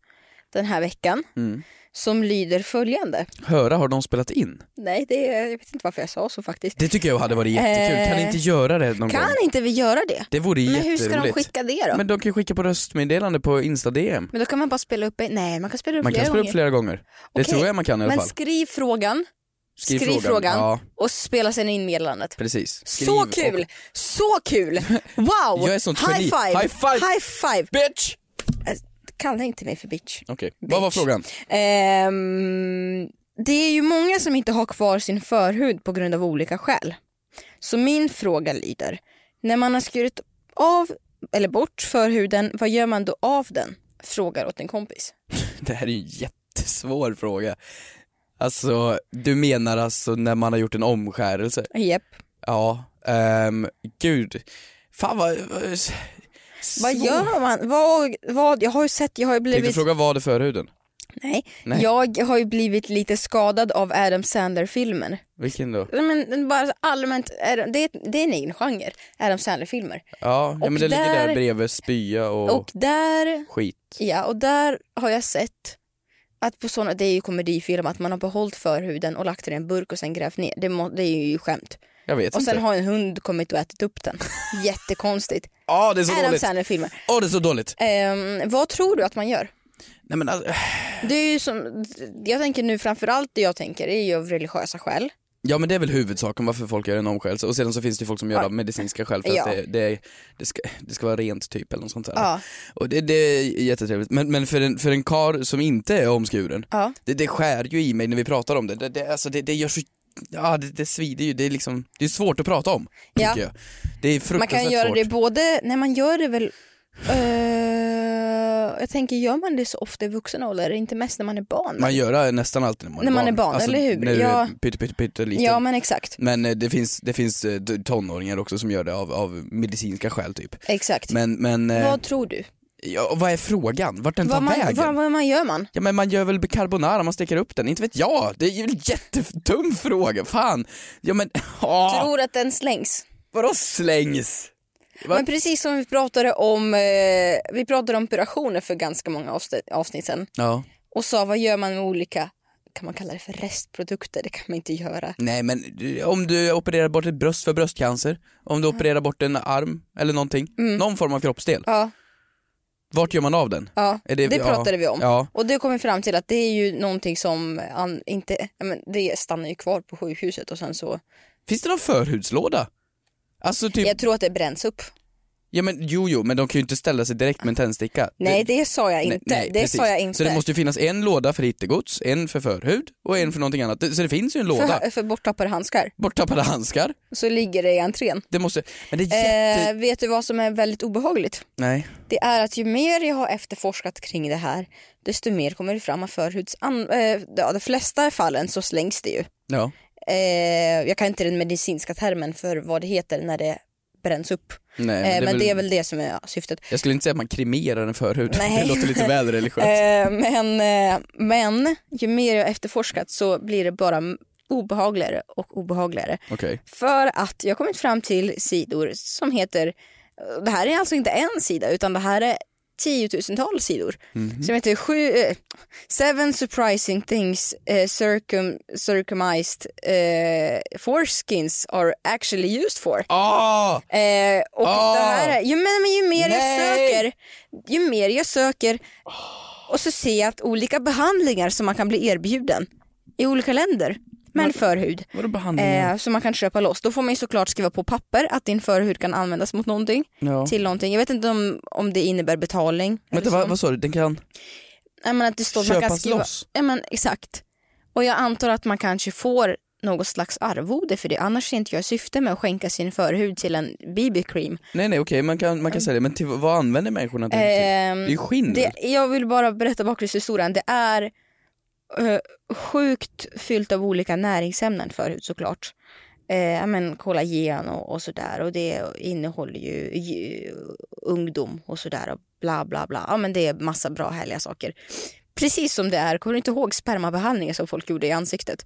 Speaker 1: den här veckan
Speaker 2: Mm.
Speaker 1: som lyder följande.
Speaker 2: Höra, har de spelat in?
Speaker 1: Nej, det är, jag vet inte varför jag sa så faktiskt.
Speaker 2: Det tycker jag hade varit jättekul. Kan ni inte göra det någon gång?
Speaker 1: Eh. Kan inte vi göra det?
Speaker 2: Det vore
Speaker 1: Men hur
Speaker 2: jätteroligt.
Speaker 1: ska de skicka det då?
Speaker 2: Men
Speaker 1: Men,
Speaker 2: de kan ju skicka på röstmeddelande på Insta-DM.
Speaker 1: då kan man bara spela upp en, nej man kan spela upp
Speaker 2: Man
Speaker 1: flera
Speaker 2: kan spela upp
Speaker 1: gånger.
Speaker 2: flera gånger. Det
Speaker 1: Okej,
Speaker 2: tror jag man kan i alla
Speaker 1: Men
Speaker 2: fall.
Speaker 1: skriv frågan, skriv, frågan,
Speaker 2: Ja,
Speaker 1: och spela sen in meddelandet.
Speaker 2: precis.
Speaker 1: så
Speaker 2: Skriv
Speaker 1: kul!
Speaker 2: och-
Speaker 1: Så kul! Wow!
Speaker 2: Jag är sånt
Speaker 1: High
Speaker 2: geni.
Speaker 1: five!
Speaker 2: High five!
Speaker 1: High five! Äh,
Speaker 2: Bitch!
Speaker 1: Kalla inte mig för bitch.
Speaker 2: Okej, vad var
Speaker 1: Bitch.
Speaker 2: frågan?
Speaker 1: Ehm, det är ju många som inte har kvar sin förhud på grund av olika skäl. Så min fråga lyder, när man har skurit av eller bort förhuden, vad gör man då av den? Frågar åt en kompis.
Speaker 2: Det här är ju en jättesvår fråga. Alltså, du menar alltså när man har gjort en omskärelse?
Speaker 1: Japp.
Speaker 2: Ja, ehm, gud. Fan vad... vad- s-
Speaker 1: Vad
Speaker 2: svår.
Speaker 1: gör man? Vad, vad, jag har ju sett, jag har ju
Speaker 2: Tänkte
Speaker 1: blivit,
Speaker 2: fråga vad det förhuden?
Speaker 1: nej,
Speaker 2: Nej.
Speaker 1: jag har ju blivit lite skadad av Adam Sandler-filmer.
Speaker 2: Vilken då?
Speaker 1: Nej, Men den bara allmänt, är- det är, det är en egen genre, Adam Sandler-filmer.
Speaker 2: Ja, ja men
Speaker 1: Och
Speaker 2: det ligger där
Speaker 1: där-
Speaker 2: bredvid spya och,
Speaker 1: Och där
Speaker 2: skit.
Speaker 1: Ja, och där har jag sett att på såna, det är ju komedifilm, att man har behållit förhuden och lagt den i en burk och sen grävt ner. Det, må, det är ju skämt.
Speaker 2: Jag vet
Speaker 1: Och
Speaker 2: inte.
Speaker 1: sen har en hund kommit och ätit upp den. Jättekonstigt.
Speaker 2: Ja, det är så
Speaker 1: Adam
Speaker 2: dåligt.
Speaker 1: Sandler-filmer.
Speaker 2: Åh, det är så dåligt.
Speaker 1: Ehm, vad tror du att man gör?
Speaker 2: Nej men alltså,
Speaker 1: Det är ju som, jag tänker nu framförallt det jag tänker är ju av religiösa skäl.
Speaker 2: Ja men det är väl huvudsaken varför folk gör en omskärelse och sedan så finns det ju folk som gör det av medicinska skäl för
Speaker 1: Ja.
Speaker 2: att det, det, det, ska, det ska vara rent typ eller något sånt där.
Speaker 1: Ja.
Speaker 2: Och det, det är jättetrevligt. Men, men för en, för en kar som inte är omskuren,
Speaker 1: Ja.
Speaker 2: det, det skär ju i mig när vi pratar om det. Det, det, alltså, det, det gör så Ja det, det svider ju, det är liksom, det är svårt att prata om.
Speaker 1: Ja.
Speaker 2: tycker Jag. Det är
Speaker 1: Man
Speaker 2: fruktansvärt
Speaker 1: kan göra
Speaker 2: svårt.
Speaker 1: det både, nej man gör det väl, eh, jag tänker gör man det så ofta i vuxen ålder? Är det inte mest när man är barn?
Speaker 2: Man gör det nästan alltid när man
Speaker 1: När
Speaker 2: är
Speaker 1: man
Speaker 2: barn.
Speaker 1: är barn,
Speaker 2: alltså,
Speaker 1: eller hur?
Speaker 2: När du
Speaker 1: Ja.
Speaker 2: är pytte, pytte, pytte liten.
Speaker 1: ja men exakt,
Speaker 2: Men eh, det finns, det finns eh, tonåringar också som gör det av, av medicinska skäl typ.
Speaker 1: exakt.
Speaker 2: Men, men, eh,
Speaker 1: Vad tror du?
Speaker 2: Ja, och vad är frågan? Vart den tar
Speaker 1: Vad man,
Speaker 2: vägen?
Speaker 1: vad, vad man gör man?
Speaker 2: Ja men man gör väl carbonara, man steker upp den, inte vet jag! Det är ju en jättedum fråga, fan! Ja men, ah,
Speaker 1: Tror att den slängs.
Speaker 2: vadå slängs? Va?
Speaker 1: Men precis som vi pratade om, eh, vi pratade om operationer för ganska många avsnitt, avsnitt sen
Speaker 2: Ja.
Speaker 1: och sa vad gör man med olika, kan man kalla det för restprodukter? Det kan man inte göra.
Speaker 2: Nej men du- om du opererar bort ett bröst för bröstcancer, om du opererar bort en arm eller någonting, någon form av kroppsdel,
Speaker 1: Mm. Ja,
Speaker 2: vart gör man av den?
Speaker 1: ja.
Speaker 2: Är
Speaker 1: Det,
Speaker 2: ja,
Speaker 1: pratade vi om.
Speaker 2: Ja,
Speaker 1: Och det kom vi fram till att det är ju någonting som an, inte, ja, men det stannar ju kvar på sjukhuset och sen så,
Speaker 2: finns det någon förhudslåda? Alltså typ,
Speaker 1: jag tror att det bränns upp.
Speaker 2: ja men jo jo, men de kan ju inte ställa sig direkt med en tändsticka.
Speaker 1: Nej det sa jag inte, det
Speaker 2: precis.
Speaker 1: sa jag inte. Mm.
Speaker 2: Så det måste ju finnas en låda för hittegods, en för förhud och en för någonting annat. Det- Så det finns ju en låda.
Speaker 1: för, för borttappade handskar
Speaker 2: Borttappade handskar.
Speaker 1: så ligger det i entrén.
Speaker 2: Det måste... Men det är jätte...
Speaker 1: Eh, vet du vad som är väldigt obehagligt?
Speaker 2: Nej.
Speaker 1: Det är att ju mer jag har efterforskat kring det här desto mer kommer det fram att förhuds... An- eh, ja, de flesta fallen så slängs det ju.
Speaker 2: Ja.
Speaker 1: Eh, jag kan inte den medicinska termen för vad det heter när det bränns upp.
Speaker 2: Nej,
Speaker 1: eh, men det är väl det som är syftet.
Speaker 2: Jag skulle inte säga att man kremerar en förhud.
Speaker 1: Nej.
Speaker 2: Det låter lite väl religiöst.
Speaker 1: Eh, men, eh, men ju mer jag efterforskat så blir det bara obehagligare och obehagligare.
Speaker 2: Okej.
Speaker 1: För att jag har kommit fram till sidor som heter, det här är alltså inte en sida utan det här är tiotusentals sidor.
Speaker 2: Mhm.
Speaker 1: Som heter sju, eh, Seven surprising things eh, circum, circumcised eh, foreskins are actually used for.
Speaker 2: Ah!
Speaker 1: Eh, och
Speaker 2: Ah.
Speaker 1: det här är, ju, men, men ju mer jag
Speaker 2: Nej. Ah!
Speaker 1: söker, ju mer jag söker och så ser jag att olika behandlingar som man kan bli erbjuden i olika länder med en förhud
Speaker 2: Vadå behandlingar?
Speaker 1: eh, som man kan köpa loss. Då får man ju såklart skriva på papper att din förhud kan användas mot någonting.
Speaker 2: Ja.
Speaker 1: Till någonting. Jag vet inte om, om det innebär betalning.
Speaker 2: Vänta, vad, vad sa du? Den kan...
Speaker 1: Nej, men att det står att man kan
Speaker 2: Köpas
Speaker 1: skriva...
Speaker 2: loss?
Speaker 1: Ja, men, exakt. Och jag antar att man kanske får något slags arvode för det. Annars ser inte jag syfte med att skänka sin förhud till en BB-cream.
Speaker 2: Nej nej okej, man kan, man kan säga det, men till, vad använder människorna det till? Ehm, det är ju skinn.
Speaker 1: Mm. Ehm, Det, jag vill bara berätta bakgrundshistorien. Det är eh, sjukt fyllt av olika näringsämnen förut såklart. Eh, ja, men kollagen och, och sådär och det innehåller ju, ju ungdom och sådär och bla bla bla. Ja men det är massa bra härliga saker. Precis som det är, kommer du inte ihåg spermabehandlingen som folk gjorde i ansiktet?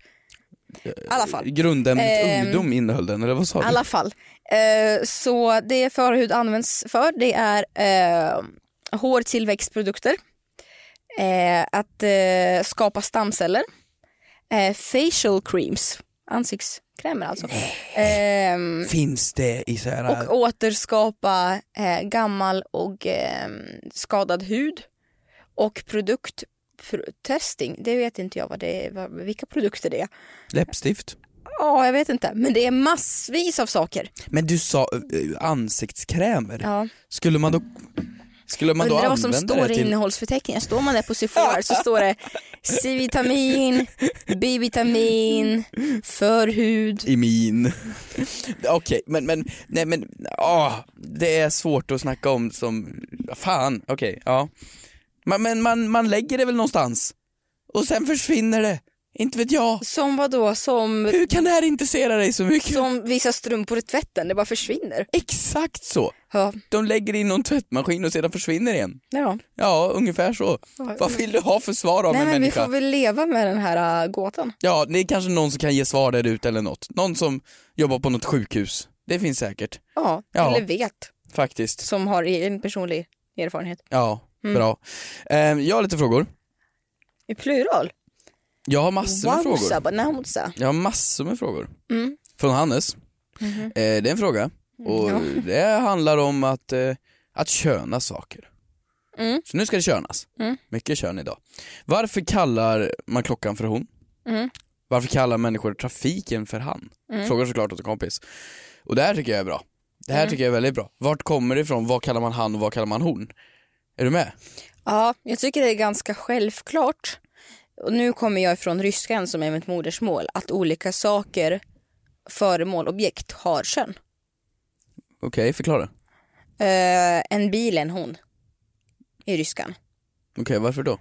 Speaker 1: I alla fall.
Speaker 2: Grundämnet
Speaker 1: Ehm,
Speaker 2: ungdom innehöll den, eller vad sa
Speaker 1: I
Speaker 2: du?
Speaker 1: alla fall. Eh, så det förhud används för det är eh, hårtillväxtprodukter, eh, att eh, skapa stamceller, eh, facial creams, ansiktskrämer alltså. Ehm,
Speaker 2: Finns det i så här...
Speaker 1: och återskapa eh, gammal och ehm, skadad hud och produkt pro- testing, det vet inte jag vad det är, vad, vilka produkter det är.
Speaker 2: läppstift?
Speaker 1: Ja, jag vet inte, men det är massvis av saker.
Speaker 2: Men du sa eh, ansiktskrämer,
Speaker 1: Ja.
Speaker 2: skulle man då, skulle man då
Speaker 1: Undrar
Speaker 2: använda
Speaker 1: vad som står
Speaker 2: det
Speaker 1: i
Speaker 2: till...
Speaker 1: innehållsförteckningen. Står man där på Sephora så står det C-vitamin, B-vitamin, förhud.
Speaker 2: Imin. Okej, men, men, nej men, åh, det är svårt att snacka om som, fan, okej, ja. Man, men man, man lägger det väl någonstans och sen försvinner det, inte vet jag.
Speaker 1: Som vad då? Som,
Speaker 2: Hur kan det här intressera dig så mycket?
Speaker 1: som vissa strumpor i tvätten, det bara försvinner.
Speaker 2: Exakt så!
Speaker 1: Ja,
Speaker 2: De lägger in någon tvättmaskin och sedan försvinner igen.
Speaker 1: ja.
Speaker 2: Ja, ungefär så. Vad vill du ha för svar av
Speaker 1: Nej
Speaker 2: en
Speaker 1: men vi
Speaker 2: människa?
Speaker 1: får väl leva med den här äh, gåtan.
Speaker 2: Ja, det är kanske någon som kan ge svar där ute eller något. Någon som jobbar på något sjukhus. Det finns säkert,
Speaker 1: Ja,
Speaker 2: Ja.
Speaker 1: eller vet,
Speaker 2: faktiskt.
Speaker 1: som har en personlig erfarenhet.
Speaker 2: Ja, bra. Ehm, jag har lite frågor.
Speaker 1: I plural?
Speaker 2: Jag har massor med
Speaker 1: Wausa,
Speaker 2: frågor.
Speaker 1: banausa.
Speaker 2: Jag har massor med frågor.
Speaker 1: Mm. Mhm.
Speaker 2: Från Hannes. Eh, det är en fråga. Och det handlar om att, eh, att köna saker.
Speaker 1: Mm.
Speaker 2: Så nu ska det könas.
Speaker 1: Mm.
Speaker 2: Mycket kön idag. Varför kallar man klockan för hon?
Speaker 1: Mm.
Speaker 2: Varför kallar människor trafiken för han? Frågar såklart åt en kompis. Och det här tycker jag är bra. Det här
Speaker 1: Mm.
Speaker 2: tycker jag är väldigt bra. Vart kommer det ifrån? Vad kallar man han och vad kallar man hon? Är du med?
Speaker 1: Ja, jag tycker det är ganska självklart. Och nu kommer jag från ryskan som är mitt modersmål. Att olika saker, föremål, objekt har kön.
Speaker 2: Okej, förklara.
Speaker 1: Eh, en bil, en hon. I ryskan.
Speaker 2: Okej, varför då?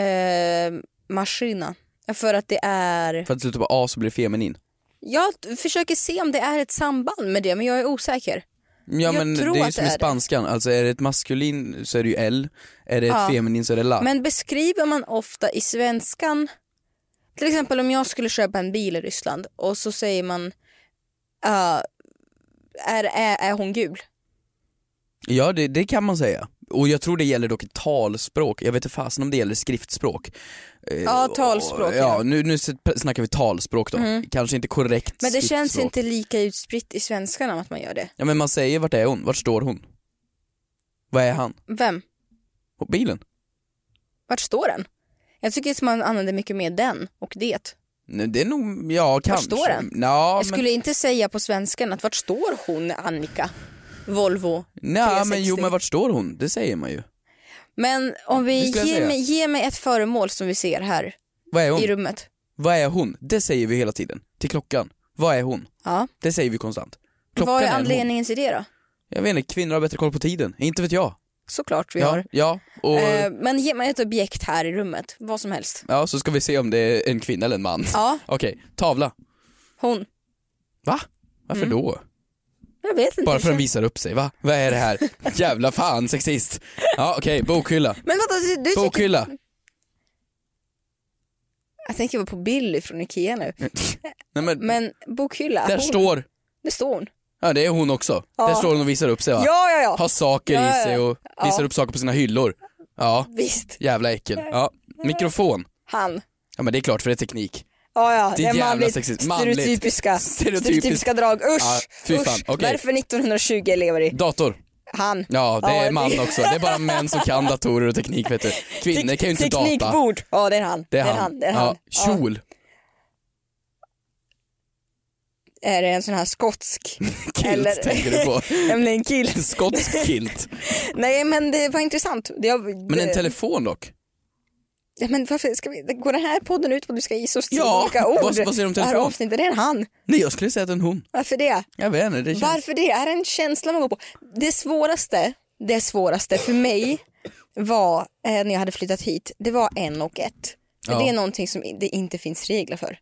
Speaker 1: Uh, maskina. För att det är...
Speaker 2: För att sluta på A så blir det feminin.
Speaker 1: Jag t- försöker se om det är ett samband med det men jag är osäker.
Speaker 2: Ja
Speaker 1: Jag
Speaker 2: men det
Speaker 1: tror
Speaker 2: är ju
Speaker 1: att
Speaker 2: som
Speaker 1: det
Speaker 2: i
Speaker 1: är det.
Speaker 2: spanskan, alltså är det ett maskulin så är det ju L, är det
Speaker 1: Ja.
Speaker 2: ett feminin så är det la.
Speaker 1: Men beskriver man ofta i svenskan, till exempel om jag skulle köpa en bil i Ryssland och så säger man eh, är, är, är hon gul?
Speaker 2: Ja det, det kan man säga. Och jag tror det gäller dock i talspråk, jag vet inte fasen om det gäller skriftspråk. Eh,
Speaker 1: Ja, talspråk,
Speaker 2: och-
Speaker 1: ja. Mm.
Speaker 2: Ja, nu, nu s- snackar vi talspråk då, kanske inte korrekt
Speaker 1: Men det känns
Speaker 2: skriftspråk.
Speaker 1: inte lika utspritt i svenskan om att man gör det.
Speaker 2: Ja men man säger vart är hon, vart står hon? Vad är han?
Speaker 1: Vem?
Speaker 2: På bilen?
Speaker 1: Vart står den? Jag tycker att man använder mycket mer den och det.
Speaker 2: Nej, Det är nog, ja kanske.
Speaker 1: står den?
Speaker 2: Ja,
Speaker 1: jag skulle inte säga på svenskan att vart står hon Annika? Volvo.
Speaker 2: men, nej, men
Speaker 1: 360.
Speaker 2: jo men vart står hon? Det säger man ju.
Speaker 1: Men om vi
Speaker 2: Det skulle jag
Speaker 1: ger
Speaker 2: säga.
Speaker 1: mig, ge mig ett föremål som vi ser här
Speaker 2: Vad är
Speaker 1: i
Speaker 2: hon?
Speaker 1: rummet.
Speaker 2: Vad är hon? Det säger vi hela tiden. Till klockan. Vad är hon?
Speaker 1: Ja.
Speaker 2: Det säger vi konstant. Klockan
Speaker 1: Vad är
Speaker 2: en hon.
Speaker 1: anledningen till det då?
Speaker 2: Jag vet inte, kvinnor har bättre koll på tiden. Inte vet jag.
Speaker 1: Såklart vi
Speaker 2: ja,
Speaker 1: har.
Speaker 2: ja, och
Speaker 1: Eh, men ge mig ett objekt här i rummet, vad som helst.
Speaker 2: ja, så ska vi se om det är en kvinna eller en man.
Speaker 1: Ja,
Speaker 2: Okej, tavla.
Speaker 1: hon.
Speaker 2: Va? Varför
Speaker 1: Mm.
Speaker 2: då?
Speaker 1: Jag vet inte.
Speaker 2: Bara för att de visar upp sig, va? Vad är det här? Jävla fan sexist. Ja, okej, bokhylla.
Speaker 1: Men vänta, du, du tycker...
Speaker 2: Bokhylla.
Speaker 1: Jag tänker bara på Billy från Ikea nu.
Speaker 2: Nej men,
Speaker 1: Men bokhylla,
Speaker 2: Mm. där
Speaker 1: hon,
Speaker 2: står...
Speaker 1: det står hon.
Speaker 2: Ja, det är hon också. Där
Speaker 1: Ja.
Speaker 2: står hon och visar upp sig va?
Speaker 1: Ja, ja, ja.
Speaker 2: Har saker
Speaker 1: Ja,
Speaker 2: i
Speaker 1: ja,
Speaker 2: sig och visar upp saker på sina hyllor. Ja,
Speaker 1: Visst,
Speaker 2: jävla äckel. Ja, mikrofon.
Speaker 1: han.
Speaker 2: Ja men det är klart för det är teknik.
Speaker 1: Ja, ja,
Speaker 2: Det
Speaker 1: det
Speaker 2: är
Speaker 1: är
Speaker 2: jävla
Speaker 1: manligt,
Speaker 2: sexistiskt. Manligt.
Speaker 1: stereotypiska,
Speaker 2: Stereotypiskt.
Speaker 1: stereotypiska drag. Usch,
Speaker 2: Ja, fy fan.
Speaker 1: usch.
Speaker 2: Okej.
Speaker 1: Varför 1920 elever i?
Speaker 2: Dator.
Speaker 1: Han.
Speaker 2: Ja, det
Speaker 1: Ja,
Speaker 2: är
Speaker 1: det-
Speaker 2: man också. Det är bara män som kan datorer och teknik vet du. Kvinnor kan ju inte data.
Speaker 1: Teknikbord. Ja, det är han.
Speaker 2: Det är
Speaker 1: Det är han.
Speaker 2: han.
Speaker 1: Det är,
Speaker 2: Ja,
Speaker 1: han. Ja.
Speaker 2: kjol.
Speaker 1: är det en sån här skotsk?
Speaker 2: Kilt
Speaker 1: Eller-
Speaker 2: tänker du på.
Speaker 1: Nämligen kill.
Speaker 2: En skotsk kilt.
Speaker 1: Nej, men det var intressant. Det, jag,
Speaker 2: Men
Speaker 1: det-
Speaker 2: en telefon dock.
Speaker 1: Ja, men varför ska vi, går den här podden ut på att du ska gissa oss tio
Speaker 2: Ja,
Speaker 1: olika ord?
Speaker 2: vad- vad säger de om
Speaker 1: Det här
Speaker 2: telefon?
Speaker 1: avsnittet, det är en han.
Speaker 2: Nej jag skulle säga att det är en hon.
Speaker 1: Varför det?
Speaker 2: Jag vet inte, det känns...
Speaker 1: Varför det? Är det en känsla man går på? Det svåraste, det svåraste för mig var eh, när jag hade flyttat hit, det var en och ett. För
Speaker 2: Ja.
Speaker 1: Det är någonting som i- det inte finns regler för.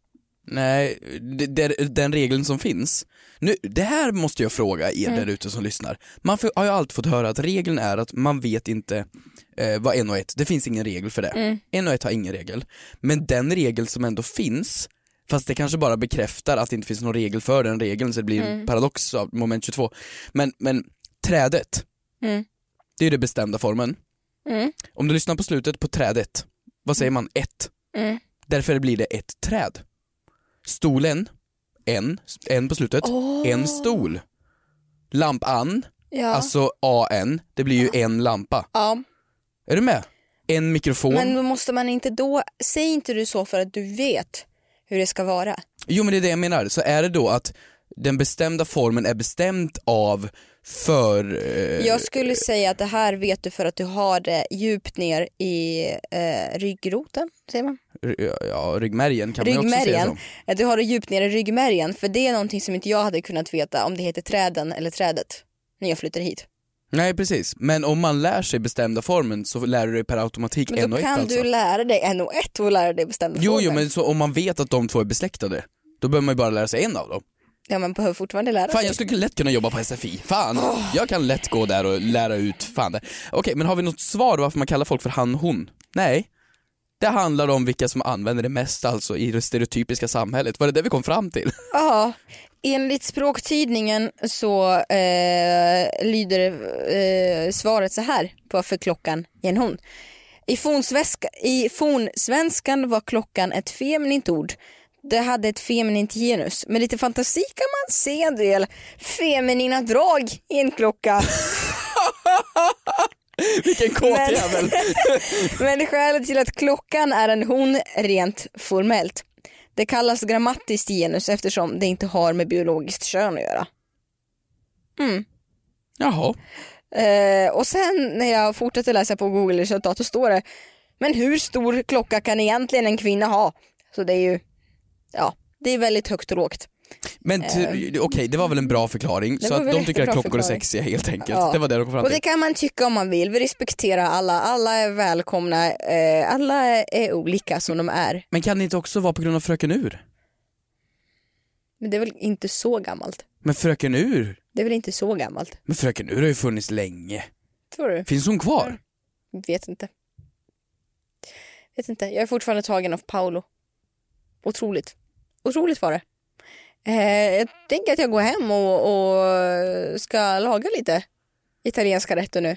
Speaker 2: Nej, det, det, den regeln som finns. Nu, det här måste jag fråga er där ute som lyssnar. Man får, har ju alltid fått höra att regeln är att man vet inte eh, vad en och ett, det finns ingen regel för det. En och ett har ingen regel. Men den regel som ändå finns, fast det kanske bara bekräftar att det inte finns någon regel för den regeln så det blir en paradox av moment 22. Men, men trädet, det är ju den bestämda formen. Om du lyssnar på slutet på trädet, vad säger man? Ett. Därför blir det ett träd. Stolen, en, en på slutet, en stol. Lampan,
Speaker 1: Ja.
Speaker 2: alltså AN, det blir ju en lampa.
Speaker 1: ja.
Speaker 2: Är du med? En mikrofon.
Speaker 1: Men då måste man inte då, säg inte du så för att du vet hur det ska vara.
Speaker 2: Jo men det är det jag menar, så är det då att den bestämda formen är bestämd av för... Eh,
Speaker 1: Jag skulle säga att det här vet du för att du har det djupt ner i eh, ryggroten, säger man?
Speaker 2: r- ja, ryggmärgen kan man ju också säga
Speaker 1: ryggmärgen.
Speaker 2: så.
Speaker 1: Att Du har det djupt ner i ryggmärgen för det är någonting som inte jag hade kunnat veta om det heter träden eller trädet när jag flyttade hit.
Speaker 2: Nej precis, men om man lär sig bestämda formen så lär du dig per automatik
Speaker 1: Men
Speaker 2: en
Speaker 1: då
Speaker 2: och ett
Speaker 1: kan
Speaker 2: alltså.
Speaker 1: du lära dig en och ett och lära dig bestämda
Speaker 2: Jo,
Speaker 1: former.
Speaker 2: jo men så om man vet att de två är besläktade, då behöver man ju bara lära sig en av dem.
Speaker 1: Ja men behöver fortfarande lära
Speaker 2: Fan
Speaker 1: sig.
Speaker 2: jag skulle lätt kunna jobba på SFI, fan. Jag kan lätt gå där och lära ut, fan det. Okej men har vi något svar varför man kallar folk för han hon? Nej. Det handlar om vilka som använder det mest alltså i det stereotypiska samhället, var det det vi kom fram till?
Speaker 1: Ja, enligt språktidningen så eh, lyder eh, svaret så här på varför klockan är en hon. I, fornsvenska, I fornsvenskan var klockan ett feminint ord. Det hade ett feminint genus. Med lite fantasi kan man se en del feminina drag i en klocka.
Speaker 2: Vilken kåt
Speaker 1: Men-
Speaker 2: jävel!
Speaker 1: Men skälet till att klockan är en hon rent formellt. Det kallas grammatiskt genus eftersom det inte har med biologiskt kön att göra.
Speaker 2: Jaha,
Speaker 1: Eh, och sen när jag fortsätter läsa på Google resultat så står det Men hur stor klocka kan egentligen en kvinna ha? Så det är ju, ja, det är väldigt högt och lågt.
Speaker 2: men t- okej det var väl en bra förklaring,
Speaker 1: Eh. det
Speaker 2: så
Speaker 1: var
Speaker 2: att
Speaker 1: väl
Speaker 2: de tycker att
Speaker 1: jättebra
Speaker 2: klockor är
Speaker 1: förklaring.
Speaker 2: sexiga helt enkelt.
Speaker 1: Ja.
Speaker 2: Det var det de kom fram
Speaker 1: Och
Speaker 2: till.
Speaker 1: det kan man tycka om man vill, vi respekterar alla, alla är välkomna, eh, alla är- är olika som de är.
Speaker 2: Men kan det inte också vara på grund av Fröken Ur?
Speaker 1: Men det är väl inte så gammalt?
Speaker 2: Men Fröken Ur?
Speaker 1: Det är väl inte så gammalt?
Speaker 2: Men Fröken Ur har ju funnits länge.
Speaker 1: Tror du?
Speaker 2: Finns hon
Speaker 1: Mm.
Speaker 2: kvar?
Speaker 1: Vet inte. Vet inte. Jag är fortfarande tagen av Paolo. Otroligt. Otroligt var det. Eh, jag tänker att jag går hem och, och ska laga lite italienska rätter nu.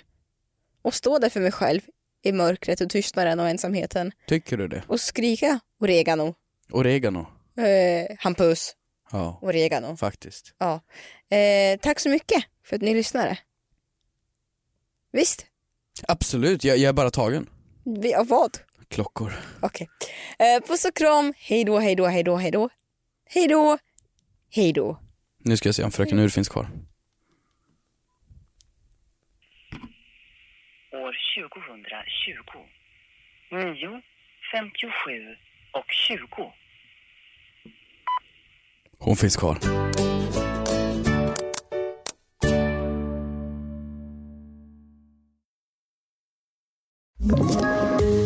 Speaker 1: Och stå där för mig själv i mörkret och tystnaden och ensamheten.
Speaker 2: Tycker du det?
Speaker 1: Och skrika oregano.
Speaker 2: Oregano?
Speaker 1: Eh, Hampus,
Speaker 2: Ja,
Speaker 1: oregano.
Speaker 2: faktiskt.
Speaker 1: Ja. Eh, tack så mycket för att ni lyssnade. Visst?
Speaker 2: Absolut, jag, jag är bara tagen.
Speaker 1: Vi, av vad?
Speaker 2: Klockor.
Speaker 1: Okej. Eh, puss och kram. Hej då, hej då, hej då, hej då. Hej då, hej då.
Speaker 2: Nu ska jag se om Fröken
Speaker 9: Mm.
Speaker 2: Ur finns kvar.
Speaker 9: år 2020. 9, 57 och 20.
Speaker 2: Hon finns kvar.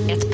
Speaker 10: Ett